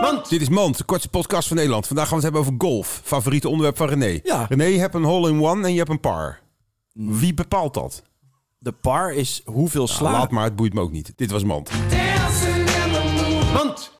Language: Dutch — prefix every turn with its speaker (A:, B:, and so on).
A: Mand.
B: Dit is Mand, de kortste podcast van Nederland. Vandaag gaan we het hebben over golf. Favoriete onderwerp van René.
A: Ja.
B: René, je hebt een hole-in-one en je hebt een par. Wie bepaalt dat? Nou,
A: De par is hoeveel slaat.
B: Laat maar, het boeit me ook niet. Dit was Mand.
C: Dancing in the moonlight.
A: Mand.